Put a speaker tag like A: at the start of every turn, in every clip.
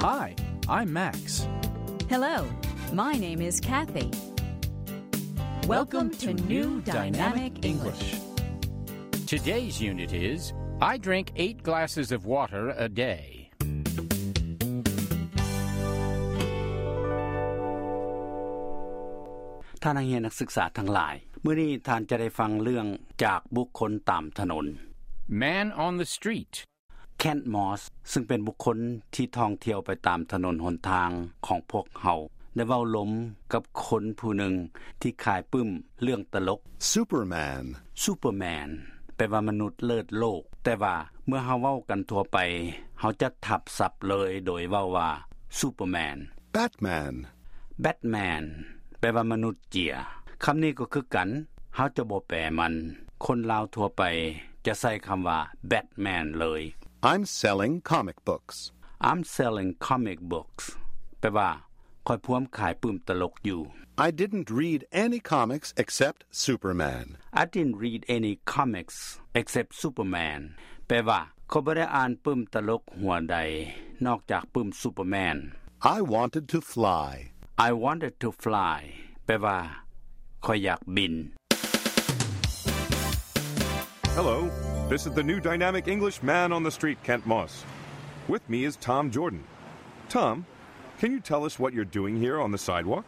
A: Hi, I'm Max.
B: Hello, my name is Kathy. Welcome, to, New Dynamic English.
A: Today's unit is I drink eight glasses of water a day.
C: ท่านนักเรียนนักศึกษาทั้งหลาย มื้อนี้ท่านจะได้ฟังเรื่องจากบุคคลตามถนน
A: Man on the Street.
C: แคนมอสซึ่งเป็นบุคคลที่ท่องเที่ยวไปตามถนนหนทางของพวกเฮาได้เว้าล้มกับคนผู้หนึ่งที่ขายปึ้มเรื่องตลก
D: Superman,
C: ซูเปอร์แมนแปลว่ามนุษย์เลิศโลก แต่ว่าเมื่อเฮาเว้ากันทั่วไปเฮาจะทับศัพท์เลยโดยเว้าว่าซูเปอร์แมน
D: Batman,
C: แบทแมนแปลว่ามนุษย์เจียคำนี้ก็คือกันเฮาจะบ่แปลมัน คนลาวทั่วไปจะใส่คำว่าแบทแมนเลย
D: I'm selling comic books.
C: I'm selling comic books แปลว่าคอยพวมขายปืมตลกอยู่
D: I didn't read any comics except Superman.
C: I didn't read any comics except Superman แปลว่าเขาบ่ได้อ่านปืมตลกหัวใด นอกจากปืมซูเปอร์แมน
D: I wanted to fly.
C: I wanted to fly แปลว่าคอยอยากบิน
E: Hello, this is the new dynamic English man on the street, Kent Moss. With me is Tom Jordan. Tom, can you tell us what you're doing here on the sidewalk?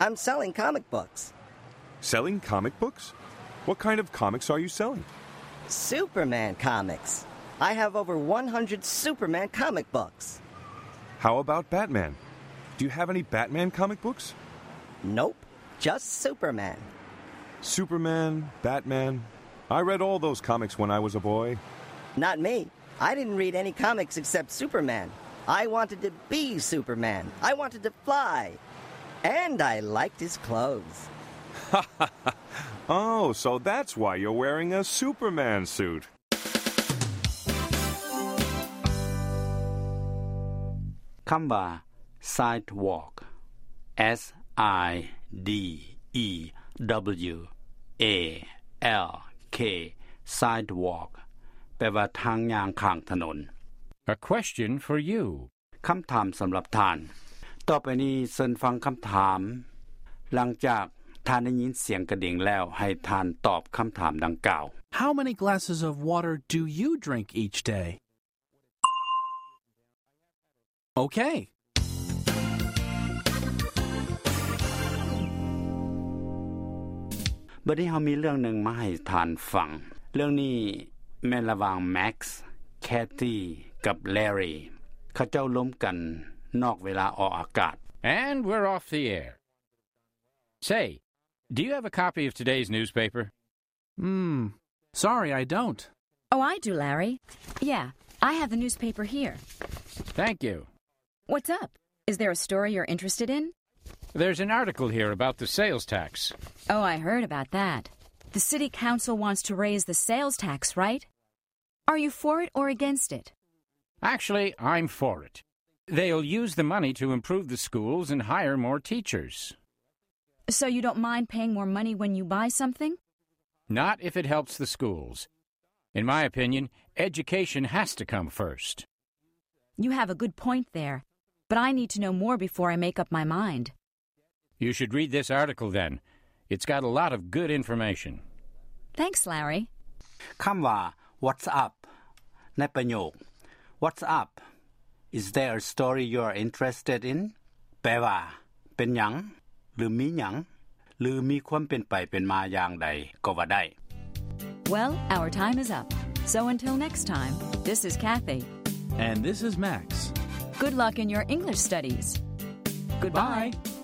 F: I'm selling comic books.
E: Selling comic books? What kind of comics are you selling?
F: Superman comics. I have over 100 Superman comic books.
E: How about Batman? Do you have any Batman comic books?
F: Nope, just Superman.
E: Superman, Batman. I read all those comics when I was a boy.
F: Not me. I didn't read any comics except Superman. I wanted to be Superman. I wanted to fly. And I liked his clothes.
E: Oh, so that's why you're wearing a Superman suit.
C: Kamba sidewalk S I D E W A L K sidewalk แปลว่าทางยางข้างถนน
A: A question for you.
C: คำถามสำหรับท่าน ต่อไปนี้เสินฟังคำถาม หลังจากท่านได้ยินเสียงกระดิ่งแล้วให้ท่านตอบคำถามดังกล่าว
A: How many glasses of water do you drink each day? Okay.
C: b ัดนี้เฮามีเรื่องหนึ่งมาให้ทานฟัง เรื่องนี้แม่นระหว่างแม็กซ์แคทตี้กับแลรี่เขาเจ้าล้มกันนอกเวลาออกอากาศ
A: And we're off the air. Say, do you have a copy of today's newspaper? Hmm. Sorry, I don't.
B: Oh, I do, Larry. Yeah, I have the newspaper here.
A: Thank you.
B: What's up? Is there a story you're interested in?
A: There's an article here about the sales tax.
B: Oh, I heard about that. The city council wants to raise the sales tax, right? Are you for it or against it?
A: Actually, I'm for it. They'll use the money to improve the schools and hire more teachers.
B: So you don't mind paying more money when you buy something?
A: Not if it helps the schools. In my opinion, education has to come first.
B: You have a good point there, but I need to know more before I make up my mind.
A: You should read this article then. It's got a lot of good information.
B: Thanks, Larry.
C: คำว่า What's up ในประโยค What's up Is there a story you are interested in แปลว่า เป็นหยัง หรือมีหยัง หรือมีความเป็นไปเป็นมาอย่างใดก็ว่าได้
B: Well, our time is up. So until next time, this is Kathy.
A: And this is Max.
B: Good luck in your English studies. Goodbye.
A: Bye.